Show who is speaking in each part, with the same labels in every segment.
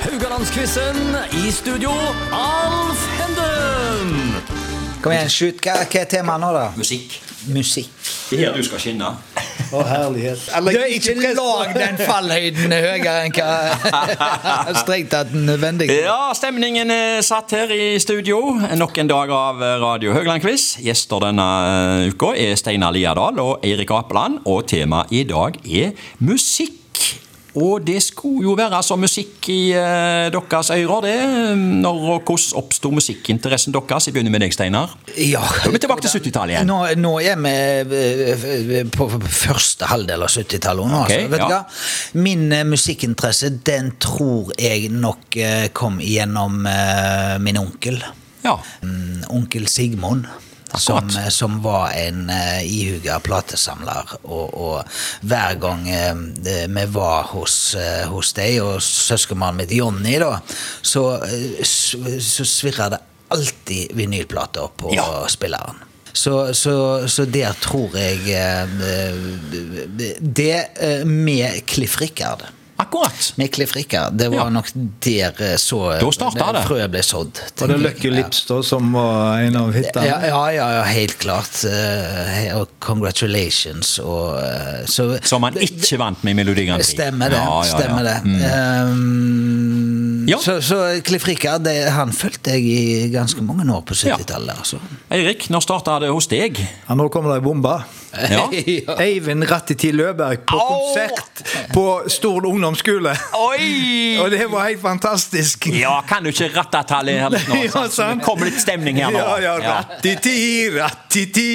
Speaker 1: Haugalandsquizen. I studio, Alf Henden.
Speaker 2: Kom igjen, shoot. Hva, hva er temaet nå, da?
Speaker 1: Musikk.
Speaker 2: Musikk.
Speaker 1: Det er du skal skinne.
Speaker 3: Å, herlighet. Eller,
Speaker 2: Du, ikke lag den fallhøyden høyere enn hva strengt tatt nødvendig.
Speaker 1: Ja, stemningen er satt her i studio. Nok en dag av Radio Haugland-quiz. Gjester denne eh, uka er Steinar Liadal og Eirik Apeland, og temaet i dag er musikk. Og det skulle jo være altså musikk i eh, deres ører, det. Når og hvordan oppsto musikkinteressen deres? Jeg begynner med deg, Steinar.
Speaker 2: Ja.
Speaker 1: Da er vi tilbake til 70-tallet igjen.
Speaker 2: Nå, nå er vi eh, på første halvdel av 70-tallet. nå,
Speaker 1: Ok,
Speaker 2: altså. Vet du
Speaker 1: ja.
Speaker 2: hva? Min eh, musikkinteresse den tror jeg nok eh, kom gjennom eh, min onkel.
Speaker 1: Ja.
Speaker 2: Mm, Onkel Sigmund. Som, eh,
Speaker 1: Akkurat.
Speaker 2: som var en uh, ihuga platesamler. Og, og hver gang eh, det- vi var hos, eh, hos deg, og søskenmannen mitt Jonny, da, så, eh, s- så svirra det alltid vinylplater på
Speaker 1: Ja.
Speaker 2: spilleren. Så, så, så der tror jeg eh, Det eh, med Cliff Richard.
Speaker 1: Akkurat.
Speaker 2: Med Cliff Richard. Det var
Speaker 1: Ja.
Speaker 2: nok der eh, så
Speaker 1: Da starta det.
Speaker 2: frøet ble sådd.
Speaker 3: var det
Speaker 2: tenker jeg.
Speaker 3: Lucky Lips da, som var en av
Speaker 2: Ja,
Speaker 3: hitene?
Speaker 2: ja, ja, ja, helt klart. eh, he- Og congratulations og eh, så,
Speaker 1: Som han ikke vant med i Melodi Grand Prix.
Speaker 2: Stemmer det.
Speaker 1: Ja, ja, ja. Mm.
Speaker 2: stemmer det. Ehm,
Speaker 1: Ja.
Speaker 2: Så, så Cliff Richard, det, han fulgte jeg i ganske mange år på 70-tallet, altså.
Speaker 1: Eirik, når starta det hos deg?
Speaker 3: Ja, nå kommer det ei bombe.
Speaker 1: Ja.
Speaker 3: Eivind Rattiti Løberg på
Speaker 1: Au!
Speaker 3: konsert på Stord ungdomsskole.
Speaker 1: Oi!
Speaker 3: Og det var helt fantastisk.
Speaker 1: Ja, kan du ikke rattatallet her litt nå?
Speaker 3: Ja,
Speaker 1: sant? Så
Speaker 3: sant.
Speaker 1: Det kom litt stemning her nå.
Speaker 3: Ja, ja,
Speaker 1: Ja.
Speaker 3: rattiti, rattiti,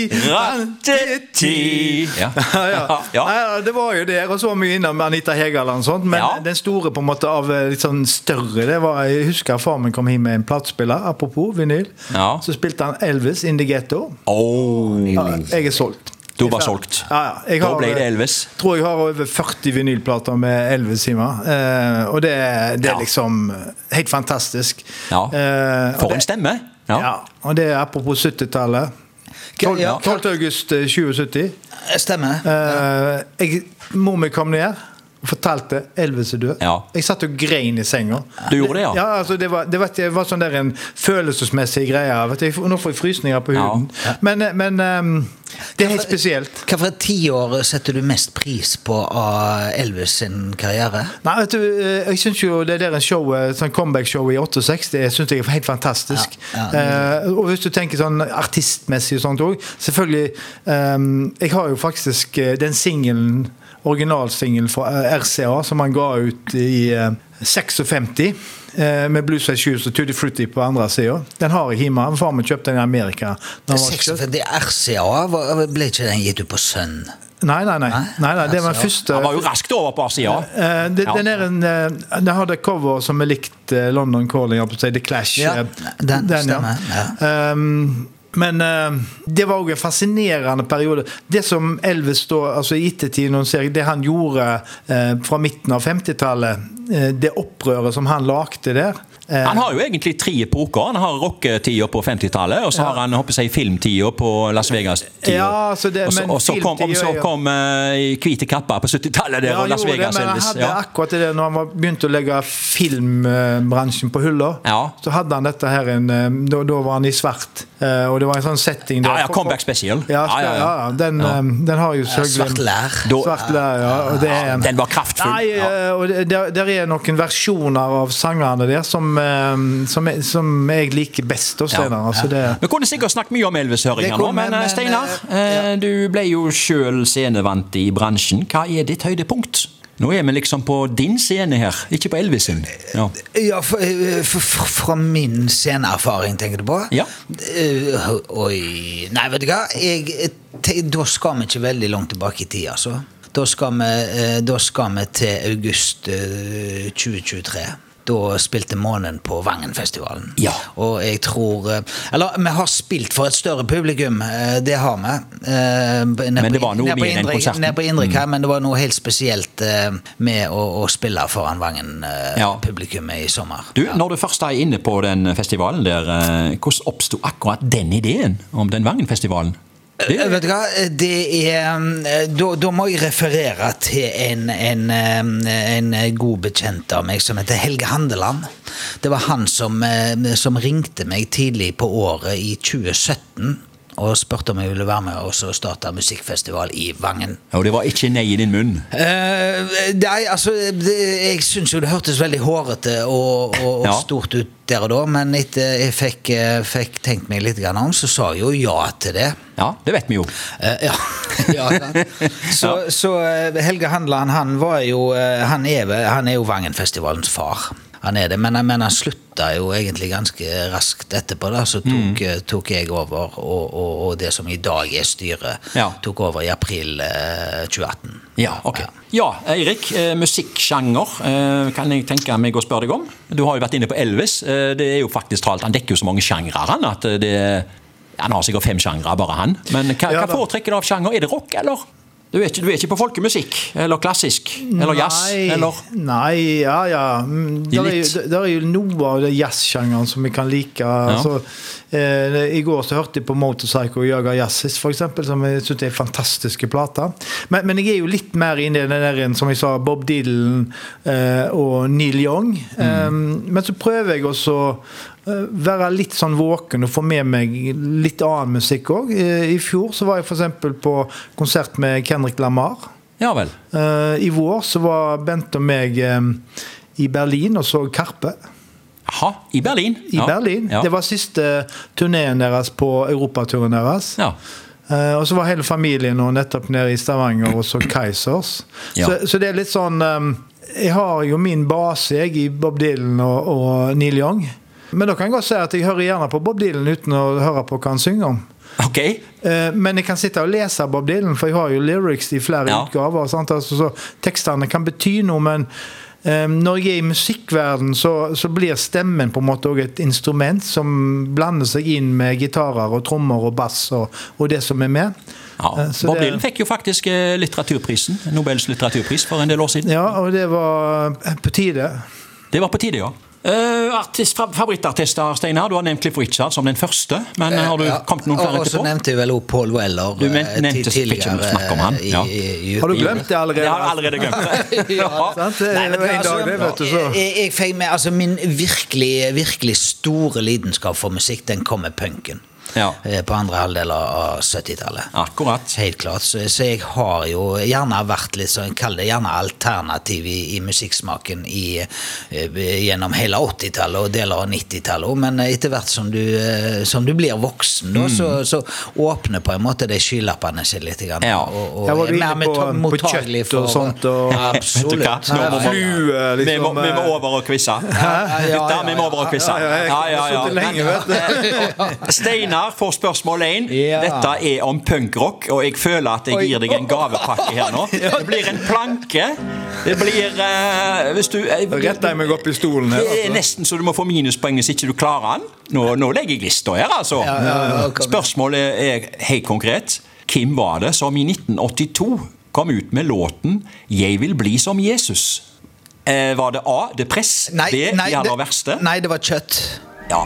Speaker 1: Rattiti. Ja.
Speaker 3: Ja, ja.
Speaker 1: Ja.
Speaker 3: Nei, ja, det var jo der, og så var vi jo innom Anita Hegeland og sånt, men
Speaker 1: Ja.
Speaker 3: den store på en måte av eh, litt sånn større, det var, jeg husker far min kom hjem med en platespiller, apropos vinyl,
Speaker 1: Ja.
Speaker 3: så spilte han Elvis in the ghetto.
Speaker 1: Åh,
Speaker 3: Ja, jeg er solgt.
Speaker 1: du var solgt.
Speaker 3: Ja, ja. Jeg
Speaker 1: Da
Speaker 3: har, eh,
Speaker 1: ble det Elvis.
Speaker 3: Tror jeg har over 40 vinylplater med Elvis i meg. Eh, og det, det er
Speaker 1: Ja.
Speaker 3: liksom helt fantastisk.
Speaker 1: Ja.
Speaker 3: Eh, og
Speaker 1: For
Speaker 3: det-
Speaker 1: en stemme.
Speaker 3: ja.
Speaker 1: Ja.
Speaker 3: Og det er apropos 70-tallet. 12.
Speaker 2: Ja.
Speaker 3: 12. august eh, 2070.
Speaker 2: Stemmer det.
Speaker 3: Eh, jeg, mor mi kom ned og fortalte Elvis er død.
Speaker 1: Ja.
Speaker 3: Jeg satt og grein i senga.
Speaker 1: Du gjorde det, ja?
Speaker 3: ja altså, det, var, det, var, det var sånn der en følelsesmessig greie. Vet du, jeg får- nå får jeg frysninger på
Speaker 1: Ja.
Speaker 3: huden. Men, eh, men eh, det er helt spesielt.
Speaker 2: Hva for et tiår setter du mest pris på av Elvis sin karriere?
Speaker 3: Nei, vet du, eh, jeg synes jo det der en show, eh, sånn comeback-showet i 68 det synes jeg er helt fantastisk.
Speaker 2: Ja,
Speaker 3: Eh, og hvis du tenker sånn artistmessig og sånt òg Selvfølgelig eh, Jeg har jo faktisk eh, den singelen, originalsingelen fra eh, RCA, som han ga ut i eh, 56. eh, Med Blues and Shoes og Tutti Frutti på andre sida. Den har jeg hjemme. Far min kjøpte den i Amerika. Når han var
Speaker 2: 56 RCA, var- ble ikke den gitt ut på Sønn?
Speaker 3: Nei, nei, nei. nei, nei det var den
Speaker 2: RCA.
Speaker 3: første
Speaker 1: Han var jo raskt over på sida.
Speaker 3: Eh, det,
Speaker 1: Ja.
Speaker 3: den er en eh, Den har det cover som er likt eh, London Calling, jeg holdt på å si, The Clash.
Speaker 2: Ja,
Speaker 3: eh,
Speaker 2: den stemmer,
Speaker 3: Ehm, men eh, det var òg en fascinerende periode. Det som Elvis da, altså i ettertid, når han ser det han gjorde eh, fra midten av 50-tallet, eh, det opprøret som han lagde der eh,
Speaker 1: Han har jo egentlig tre epoker. Han har rocketida på 50-tallet, og så har han håper jeg, filmtida på Las Vegas-tida.
Speaker 3: Ja, altså det-
Speaker 1: og så,
Speaker 3: men
Speaker 1: og så kom,
Speaker 3: filmtida
Speaker 1: og så
Speaker 3: er jo-
Speaker 1: kom eh, Hvite kappa på 70-tallet der,
Speaker 3: Ja,
Speaker 1: og
Speaker 3: han
Speaker 1: Las
Speaker 3: gjorde det,
Speaker 1: Vegas
Speaker 3: men han
Speaker 1: Elvis.
Speaker 3: hadde
Speaker 1: Ja.
Speaker 3: akkurat det når han var- begynte å legge filmbransjen på hylla.
Speaker 1: Ja.
Speaker 3: Så hadde han dette her en, eh, da, da var han i svart. eh, Og det var en sånn setting der.
Speaker 1: Ja, ja, comeback spesial.
Speaker 3: Ja, ja, ja, ja. Den, eh, den har jo selvfølgelig
Speaker 2: Svart lær.
Speaker 1: Da-
Speaker 3: Svart lær, ja. Og det er
Speaker 1: Den var kraftfull.
Speaker 3: Nei,
Speaker 1: ja.
Speaker 3: eh, og det- der, der er noen versjoner av sangene der som, eh, som, jeg- som jeg liker best hos Steinar. Altså, det-
Speaker 1: Vi kunne sikkert snakket mye om
Speaker 2: Det
Speaker 1: Elvis-høringer nå,
Speaker 2: kunne vi,
Speaker 1: men eh,
Speaker 2: men,
Speaker 1: Steinar,
Speaker 2: eh,
Speaker 1: eh, du ble jo sjøl scenevant i bransjen. Hva er ditt høydepunkt? Nå er vi liksom på din scene her, ikke på Elvis sin. Ja.
Speaker 2: Ja, for, eh, for, for, fra min sceneerfaring, tenker du på?
Speaker 1: Ja.
Speaker 2: Eh, oi Nei, vet du hva? Jeg, eh, te, da skal vi ikke veldig langt tilbake i tid, altså. Da skal vi, eh, da skal vi til august eh, 2023. Da spilte Månen på Vangenfestivalen.
Speaker 1: Ja.
Speaker 2: Og jeg tror eh, Eller, vi har spilt for et større publikum. eh, Det har vi. Eh, ned
Speaker 1: Men
Speaker 2: på-
Speaker 1: det var noe
Speaker 2: ned på
Speaker 1: mer enn
Speaker 2: Indre-
Speaker 1: konserten. Mm.
Speaker 2: Ned på Indre Kai, men det var noe helt spesielt eh, med å, å spille foran eh,
Speaker 1: Ja.
Speaker 2: Vangen-publikummet i sommer.
Speaker 1: Du, Når du først er inne på den festivalen der, eh, hvordan oppsto akkurat den ideen om den Vangen-festivalen? Det-
Speaker 2: Eh, Vet du hva, det er eh, Da, da må jeg referere til en, en, eh, en god bekjent av meg som heter Helge Handeland. Det var han som, eh, som ringte meg tidlig på året i 2017 og spurte om jeg ville være med og så starte musikkfestival i Vangen.
Speaker 1: Og det var ikke nei i din munn.
Speaker 2: Eh, nei, altså det, Jeg syns jo det hørtes veldig hårete og, og, og
Speaker 1: Ja.
Speaker 2: stort ut der og da, men etter jeg fikk, eh, fikk tenkt meg litt grann om, så sa jeg jo ja til det.
Speaker 1: Ja, det vet vi jo.
Speaker 2: Eh, ja. ja sant. så, så eh, Helge Handland, han var jo eh, Han er, vel- han er jo Vangenfestivalens far. Han er det, men, men han slutta jo egentlig ganske raskt etterpå. da, Så
Speaker 1: Mm.
Speaker 2: tok, eh, tok jeg over, og, og, og det som i dag er styret,
Speaker 1: Ja.
Speaker 2: tok over i april eh, 2018.
Speaker 1: Ja, ok. Ja, Eirik. Eh, musikksjanger eh, kan jeg tenke meg å spørre deg om. Du har jo vært inne på Elvis. Eh, det er jo faktisk talt, Han dekker jo så mange sjangre, han. at eh, det, Han har sikkert fem sjangre, bare han. Men hva,
Speaker 3: Ja,
Speaker 1: hva
Speaker 3: da.
Speaker 1: foretrekker du av sjanger? Er det rock, eller? Du er ikke, du er ikke på folkemusikk? Eller klassisk? Eller jazz?
Speaker 3: Nei,
Speaker 1: Eller
Speaker 3: Nei, ja ja. Mm, Der er,
Speaker 1: Litt.
Speaker 3: jo- der er jo noe av det jazzsjangeren som vi kan like. Altså, eh, I går så hørte jeg på Motorcycle og Jaga Jazzis, for eksempel, som jeg syns er fantastiske plater. Men, men jeg er jo litt mer inne i den der, en, som jeg sa, Bob Dylan eh, og Neil Young.
Speaker 1: Mm.
Speaker 3: Eh, men så prøver jeg også eh, være litt sånn våken og få med meg litt annen musikk òg. I fjor så var jeg f.eks. på konsert med Kendrick Lamar.
Speaker 1: Ja vel.
Speaker 3: Eh, I vår så var Bent og meg eh, i Berlin og så Karpe.
Speaker 1: Jaha. I Berlin.
Speaker 3: I
Speaker 1: Ja,
Speaker 3: Berlin.
Speaker 1: Ja.
Speaker 3: Det var siste turneen deres på europaturen deres.
Speaker 1: ja.
Speaker 3: Eh, og så var hele familien nå nettopp nede i Stavanger og så Kaizers.
Speaker 1: Ja.
Speaker 3: Så, så det er litt sånn eh, Jeg har jo min base jeg, i Bob Dylan og, og Neil Young. Men da kan jeg godt si at jeg hører gjerne på Bob Dylan uten å høre på hva han synger om.
Speaker 1: Ok.
Speaker 3: Eh, Men jeg kan sitte og lese Bob Dylan, for jeg har jo lyrics i flere
Speaker 1: Ja.
Speaker 3: utgaver. Sant? Altså, så tekstene kan bety noe, men eh, når jeg er i musikkverden, så, så blir stemmen på en måte også et instrument som blander seg inn med gitarer og trommer og bass og, og det som er med.
Speaker 1: Ja.
Speaker 3: Eh, så
Speaker 1: Bob
Speaker 3: det-
Speaker 1: Dylan fikk jo faktisk eh, litteraturprisen. Nobels litteraturpris for en del år siden.
Speaker 3: Ja, og det var eh, på tide.
Speaker 1: Det var på tide, ja. Eh, artist, fa- favorittartister, Steinar. Du har nevnt Cliff Richard som den første. Men
Speaker 3: Eh,
Speaker 1: har du
Speaker 2: Ja,
Speaker 1: kommet noen flere
Speaker 2: og- Og så
Speaker 1: etterpå?
Speaker 2: nevnte jeg vel også Paul Weller
Speaker 1: Du men-
Speaker 2: eh,
Speaker 1: nevnte
Speaker 2: ti-
Speaker 1: Spitchen, snakk om han,
Speaker 2: i-
Speaker 1: ja.
Speaker 2: i- i-
Speaker 3: Har du glemt det allerede?
Speaker 1: Jeg har allerede glemt det.
Speaker 2: Ja.
Speaker 1: ja.
Speaker 3: Sant? Det er
Speaker 2: Nei, men
Speaker 3: jo en
Speaker 2: altså,
Speaker 3: dag, det, vet du, så.
Speaker 2: Jeg, jeg fikk med altså, Min virkelig, virkelig store lidenskap for musikk, den kom med punken.
Speaker 1: Ja.
Speaker 2: Eh, På andre halvdel av 70-tallet.
Speaker 1: Akkurat.
Speaker 2: Helt klart. Så, så jeg har jo gjerne vært litt sånn, kall det gjerne alternativ i, i musikksmaken i, eh, gjennom hele 80-tallet og deler av 90-tallet også. men etter hvert som du, eh, som du blir voksen, da, så,
Speaker 3: Mm.
Speaker 2: så åpner på en måte de skylappene seg litt. Grann,
Speaker 1: Ja.
Speaker 2: og, og
Speaker 3: Jeg var
Speaker 2: er
Speaker 3: inne
Speaker 2: mer
Speaker 3: på-
Speaker 2: mot-
Speaker 3: på
Speaker 2: mottagelig
Speaker 3: kjøtt og sånt, og-
Speaker 2: Ja,
Speaker 1: Vet du hva?
Speaker 2: absolutt.
Speaker 1: Nå må
Speaker 2: Nei,
Speaker 1: vi-
Speaker 2: nei.
Speaker 3: Flue,
Speaker 1: Vi må,
Speaker 3: liksom.
Speaker 1: vi må
Speaker 3: eh,
Speaker 1: over og quize.
Speaker 2: ja, ja,
Speaker 1: Gutta, vi må over og quize.
Speaker 3: Ja, ja, jeg kunne sittet lenge,
Speaker 1: eh, Steinar får spørsmål én.
Speaker 2: Ja.
Speaker 1: Dette er om punkrock, og jeg føler at jeg
Speaker 2: Oi.
Speaker 1: gir deg en gavepakke her nå. Det blir en planke. Det blir eh, Hvis du eh,
Speaker 3: Rett deg meg opp i stolen her.
Speaker 1: Det er
Speaker 3: Altså.
Speaker 1: nesten så du må få minuspoeng hvis ikke du klarer den. Nå, nå legger jeg lista her, altså.
Speaker 2: Ja, ja, ja, kom igjen.
Speaker 1: Spørsmålet er helt konkret. Hvem var det som i 1982 kom ut med låten 'Jeg vil bli som Jesus'? Eh, var det A. The Press?
Speaker 2: Nei,
Speaker 1: B.
Speaker 2: nei,
Speaker 1: de aller
Speaker 2: det-
Speaker 1: verste?
Speaker 2: Nei, det var kjøtt.
Speaker 1: Ja.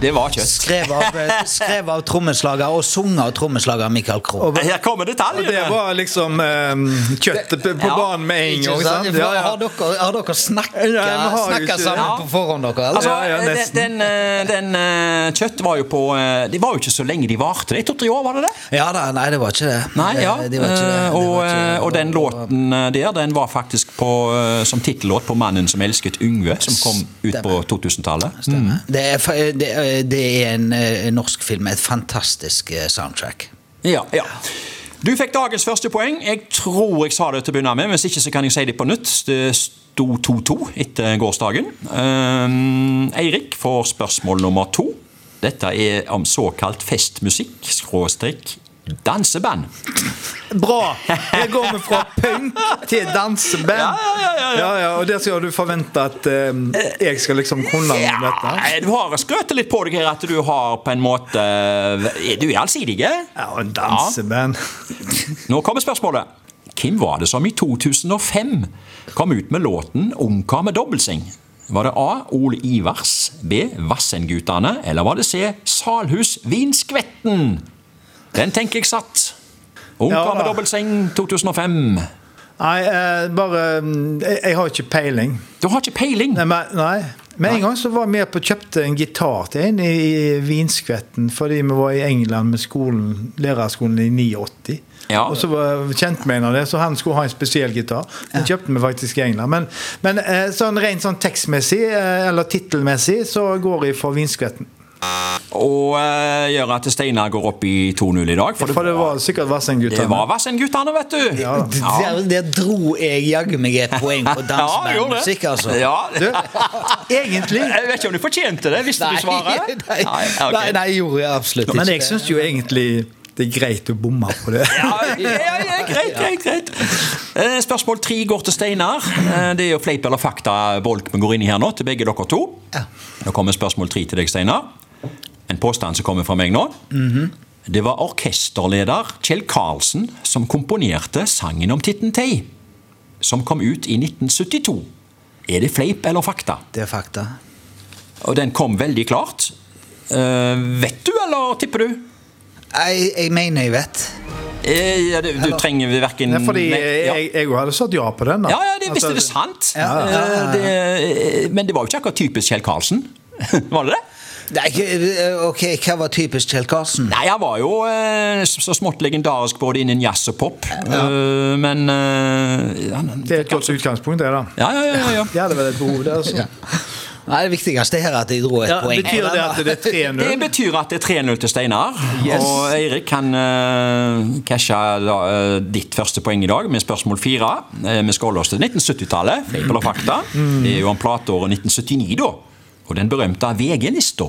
Speaker 1: Det var kjøtt.
Speaker 2: Skrevet av, eh, skrev av trommeslager og sunget av trommeslager Michael Krohn.
Speaker 1: Her kommer
Speaker 3: Det
Speaker 1: detaljene!
Speaker 3: var liksom eh, kjøttet på
Speaker 1: Ja.
Speaker 3: banen med en
Speaker 2: Ikke
Speaker 3: gang.
Speaker 2: sant?
Speaker 3: sant? Ja, ja.
Speaker 2: Har dere, har dere snakka,
Speaker 3: Nei, vi har jo
Speaker 2: snakka
Speaker 3: ikke-
Speaker 2: sammen
Speaker 1: Ja.
Speaker 2: på forhånd, dere? eller?
Speaker 1: Altså,
Speaker 3: Ja, ja,
Speaker 1: den,
Speaker 3: nesten.
Speaker 1: den, eh, den eh, kjøtt var jo på eh, Det var jo ikke så lenge de varte. Det er to-tre år, var det det?
Speaker 2: ja da, nei, det var ikke det.
Speaker 1: Nei, ja.
Speaker 2: Det- det var ikke det.
Speaker 1: Eh,
Speaker 2: Det
Speaker 1: og,
Speaker 2: var ikke det.
Speaker 1: eh, og den låten eh, der, den var faktisk på, eh, som tittellåt på 'Mannen som elsket Yngve', som kom ut på 2000-tallet. Mm.
Speaker 2: det er, fa- eh, det, er- det er en eh, norsk film med et fantastisk eh, soundtrack.
Speaker 1: Ja, ja. Du fikk dagens første poeng. Jeg tror jeg sa det til å begynne med, hvis ikke så kan jeg si det på nytt. Det sto 2-2 etter gårsdagen. Ehm, Eirik får spørsmål nummer to. Dette er om såkalt festmusikk, skråstrek, danseband.
Speaker 3: Bra! Her går vi fra punk til danseband. Ja, ja, ja, Og der skal du forvente at eh, jeg skal liksom kunne om dette.
Speaker 1: Ja, du har skrøtet litt på deg her at du har på en måte Du er allsidig.
Speaker 3: Ja, og danseband.
Speaker 1: Nå kommer spørsmålet. Hvem var det som i 2005 kom ut med låten 'Ungkar med dobbeltseng'? Var det A. Ole Ivars, B. Vassendgutane, eller var det C. Salhus Vinskvetten? Den tenker jeg satt. Ungkar
Speaker 3: Ja,
Speaker 1: med
Speaker 3: da.
Speaker 1: dobbeltseng 2005.
Speaker 3: Nei, eh, bare mm, jeg, jeg har ikke peiling.
Speaker 1: Du har ikke peiling!
Speaker 3: Nei, men, nei. Med en gang så var jeg med på kjøpte en gitar til en i, i vinskvetten fordi vi var i England med skolen, lærerskolen i 89.
Speaker 1: Ja.
Speaker 3: Og så var kjente vi en av det, så han skulle ha en spesiell gitar. Den kjøpte vi faktisk i England. Men, men eh, sånn rent sånn tekstmessig, eh, eller tittelmessig, så går jeg for vinskvetten.
Speaker 1: Og eh, gjør at Steinar går opp i 2-0 i dag. For,
Speaker 3: For det var sikkert
Speaker 1: det
Speaker 3: Vassendguttene.
Speaker 1: var Vassendguttene, vet du!
Speaker 3: Ja.
Speaker 2: Der, der dro jeg jaggu meg et poeng på dansebandmusikk, altså.
Speaker 1: Ja.
Speaker 3: Egentlig
Speaker 1: Jeg vet ikke om du fortjente det. Visste du svaret?
Speaker 2: nei,
Speaker 1: ok.
Speaker 2: nei, nei, gjorde jeg absolutt ikke.
Speaker 3: Men jeg syns jo egentlig det er greit å bomme på det.
Speaker 1: Ja, ja, ja, greit, greit, greit. Eh, Spørsmål tre går til Steinar. Eh, Det er jo fleip eller fakta-bolk vi går inn i her nå, til begge dere to.
Speaker 2: Ja.
Speaker 1: Nå kommer spørsmål tre til deg, Steinar. En påstand som kommer fra meg nå. Mhm. Det var orkesterleder Kjell Karlsen som komponerte sangen om Titten Tei, som kom ut i 1972. Er det fleip eller fakta?
Speaker 2: Det er fakta.
Speaker 1: Og den kom veldig klart. Eh, vet du, eller tipper du?
Speaker 2: Jeg, jeg mener jeg vet.
Speaker 1: Eh, ja, du, du trenger verken
Speaker 3: Nei, fordi eh,
Speaker 1: Nei, ja.
Speaker 3: jeg jeg jo hadde sagt ja på den. da.
Speaker 1: Ja, ja, det visste
Speaker 3: Altså,
Speaker 1: det sant.
Speaker 2: Ja, ja, ja,
Speaker 1: Eh, Det, men det var jo ikke akkurat typisk Kjell Karlsen. Var det det?
Speaker 2: Nei, ikke- eh, ok, Hva var typisk Kjell Karlsen?
Speaker 1: Nei, han var jo eh, så så smått legendarisk både innen jazz og pop. Eh, Men eh, han,
Speaker 3: Det er et godt utgangspunkt, det, da.
Speaker 1: Ja, ja, ja. ja, ja.
Speaker 3: Jeg hadde vel et behov der.
Speaker 2: altså.
Speaker 3: Så.
Speaker 2: Nei, Det viktigste her er at jeg dro et
Speaker 3: Ja,
Speaker 2: poeng.
Speaker 3: betyr det at det er
Speaker 1: Det
Speaker 3: 3-0?
Speaker 1: betyr at det er 3-0 til Steinar.
Speaker 3: Yes.
Speaker 1: Og Eirik kan eh, cashe da, eh, ditt første poeng i dag med spørsmål fire. Eh, vi skal holde oss til 1970-tallet. Fleip eller fakta. Det er jo om plateåret 1979, da. Og den berømte VG-lista.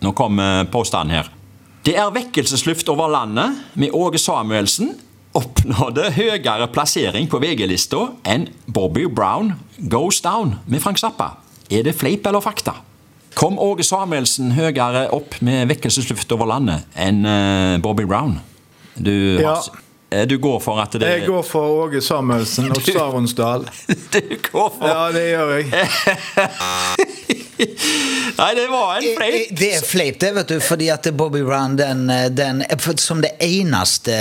Speaker 1: Nå kommer påstanden her. Det er vekkelsesluft over landet med Åge Samuelsen. Oppnådde høyere plassering på VG-lista enn Bobby Brown Goes Down med Frank Zappa. Er det fleip eller fakta? Kom Åge Samuelsen høyere opp med vekkelsesluft over landet enn eh, Bobby Brown? Du,
Speaker 3: Ja.
Speaker 1: har- eh, du går for at det
Speaker 3: Jeg går for Åge Samuelsen og Saronsdal.
Speaker 1: Du går for
Speaker 3: Ja, det gjør jeg.
Speaker 1: Nei, det var en fleip.
Speaker 2: Eh, Det er fleip, det, vet du. Fordi at Bobby Brown, den, eh, den for Som det eneste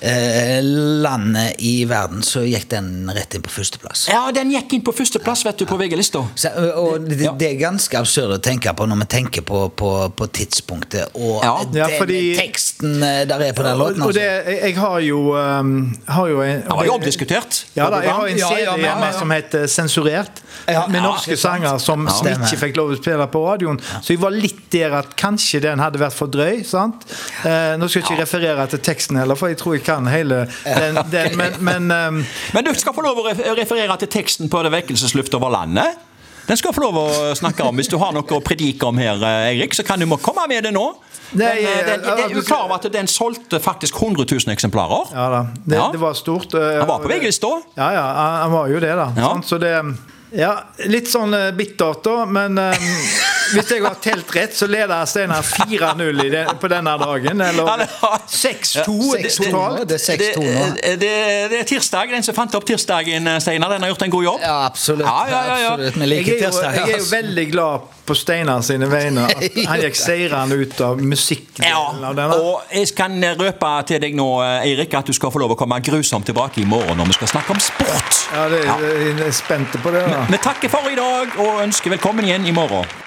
Speaker 2: eh, landet i verden, så gikk den rett inn på førsteplass.
Speaker 1: Ja, den gikk inn på førsteplass, vet du, på VG-lista.
Speaker 2: Så, eh, og det,
Speaker 1: Ja.
Speaker 2: det er ganske absurd å tenke på når vi tenker på, på, på tidspunktet og
Speaker 1: Ja.
Speaker 2: den
Speaker 3: Ja, fordi-
Speaker 2: teksten eh, der er på den
Speaker 3: Og,
Speaker 2: låten.
Speaker 3: og det,
Speaker 2: Altså.
Speaker 3: jeg jeg har jo, um, har jo en,
Speaker 1: Den var jo omdiskutert.
Speaker 3: Ja, da, jeg har en
Speaker 2: Ja,
Speaker 3: CD
Speaker 2: ja, men-
Speaker 3: hjemme
Speaker 2: ja, ja.
Speaker 3: som heter Sensurert,
Speaker 2: Ja,
Speaker 3: med
Speaker 2: ja,
Speaker 3: norske
Speaker 2: det er sant.
Speaker 3: sanger som, som
Speaker 2: Stemmer.
Speaker 3: ikke fikk lov å spille på radioen. Så jeg var litt der at kanskje den hadde vært for drøy. sant? Eh, nå skal jeg ikke referere til teksten heller, for jeg tror jeg kan hele den. den men men um,
Speaker 1: Men du skal få lov å ref- referere til teksten på det vekkelsesluft over landet. Den skal få lov å snakke om. Hvis du har noe å predike om her, eh, Eirik, så kan du må komme med det nå.
Speaker 3: Nei,
Speaker 1: Den, eh, den,
Speaker 3: eh,
Speaker 1: den, er du klar over at den solgte faktisk 100 000 eksemplarer?
Speaker 3: Ja da. Det,
Speaker 1: Ja.
Speaker 3: det var stort. eh,
Speaker 1: Han var på
Speaker 3: og det-
Speaker 1: VG-lista.
Speaker 3: Ja, ja, han han var jo det, da.
Speaker 1: Ja.
Speaker 3: Sant? Så det ja, Litt sånn eh, bittert, da, men eh, hvis jeg har telt rett, så leder Steinar 4-0 i det- på denne dagen.
Speaker 1: Ja, det
Speaker 3: Eller
Speaker 1: var-
Speaker 3: 6-2
Speaker 2: Ja, 6-2 nå,
Speaker 3: totalt.
Speaker 2: det- er 6-2 nå.
Speaker 1: Det, det, det er tirsdag. Den som fant opp tirsdagen, eh, Steinar, den har gjort en god jobb.
Speaker 2: Ja, absolutt.
Speaker 1: Ja, ja, ja, ja.
Speaker 2: absolutt. Vi
Speaker 3: Jeg
Speaker 2: liker
Speaker 3: er, jo,
Speaker 2: tirsdag.
Speaker 3: jeg er jo
Speaker 2: altså.
Speaker 3: veldig glad på Steinar sine vegne. At han gikk seirende ut av musikkdelen
Speaker 1: Ja,
Speaker 3: av denne.
Speaker 1: og jeg kan røpe til deg nå, eh, Eirik, at du skal få lov å komme grusomt tilbake i morgen når vi skal snakke om sport.
Speaker 3: Ja, det, jeg er spent på det. da
Speaker 1: Vi takker for i dag og ønsker velkommen igjen i morgen.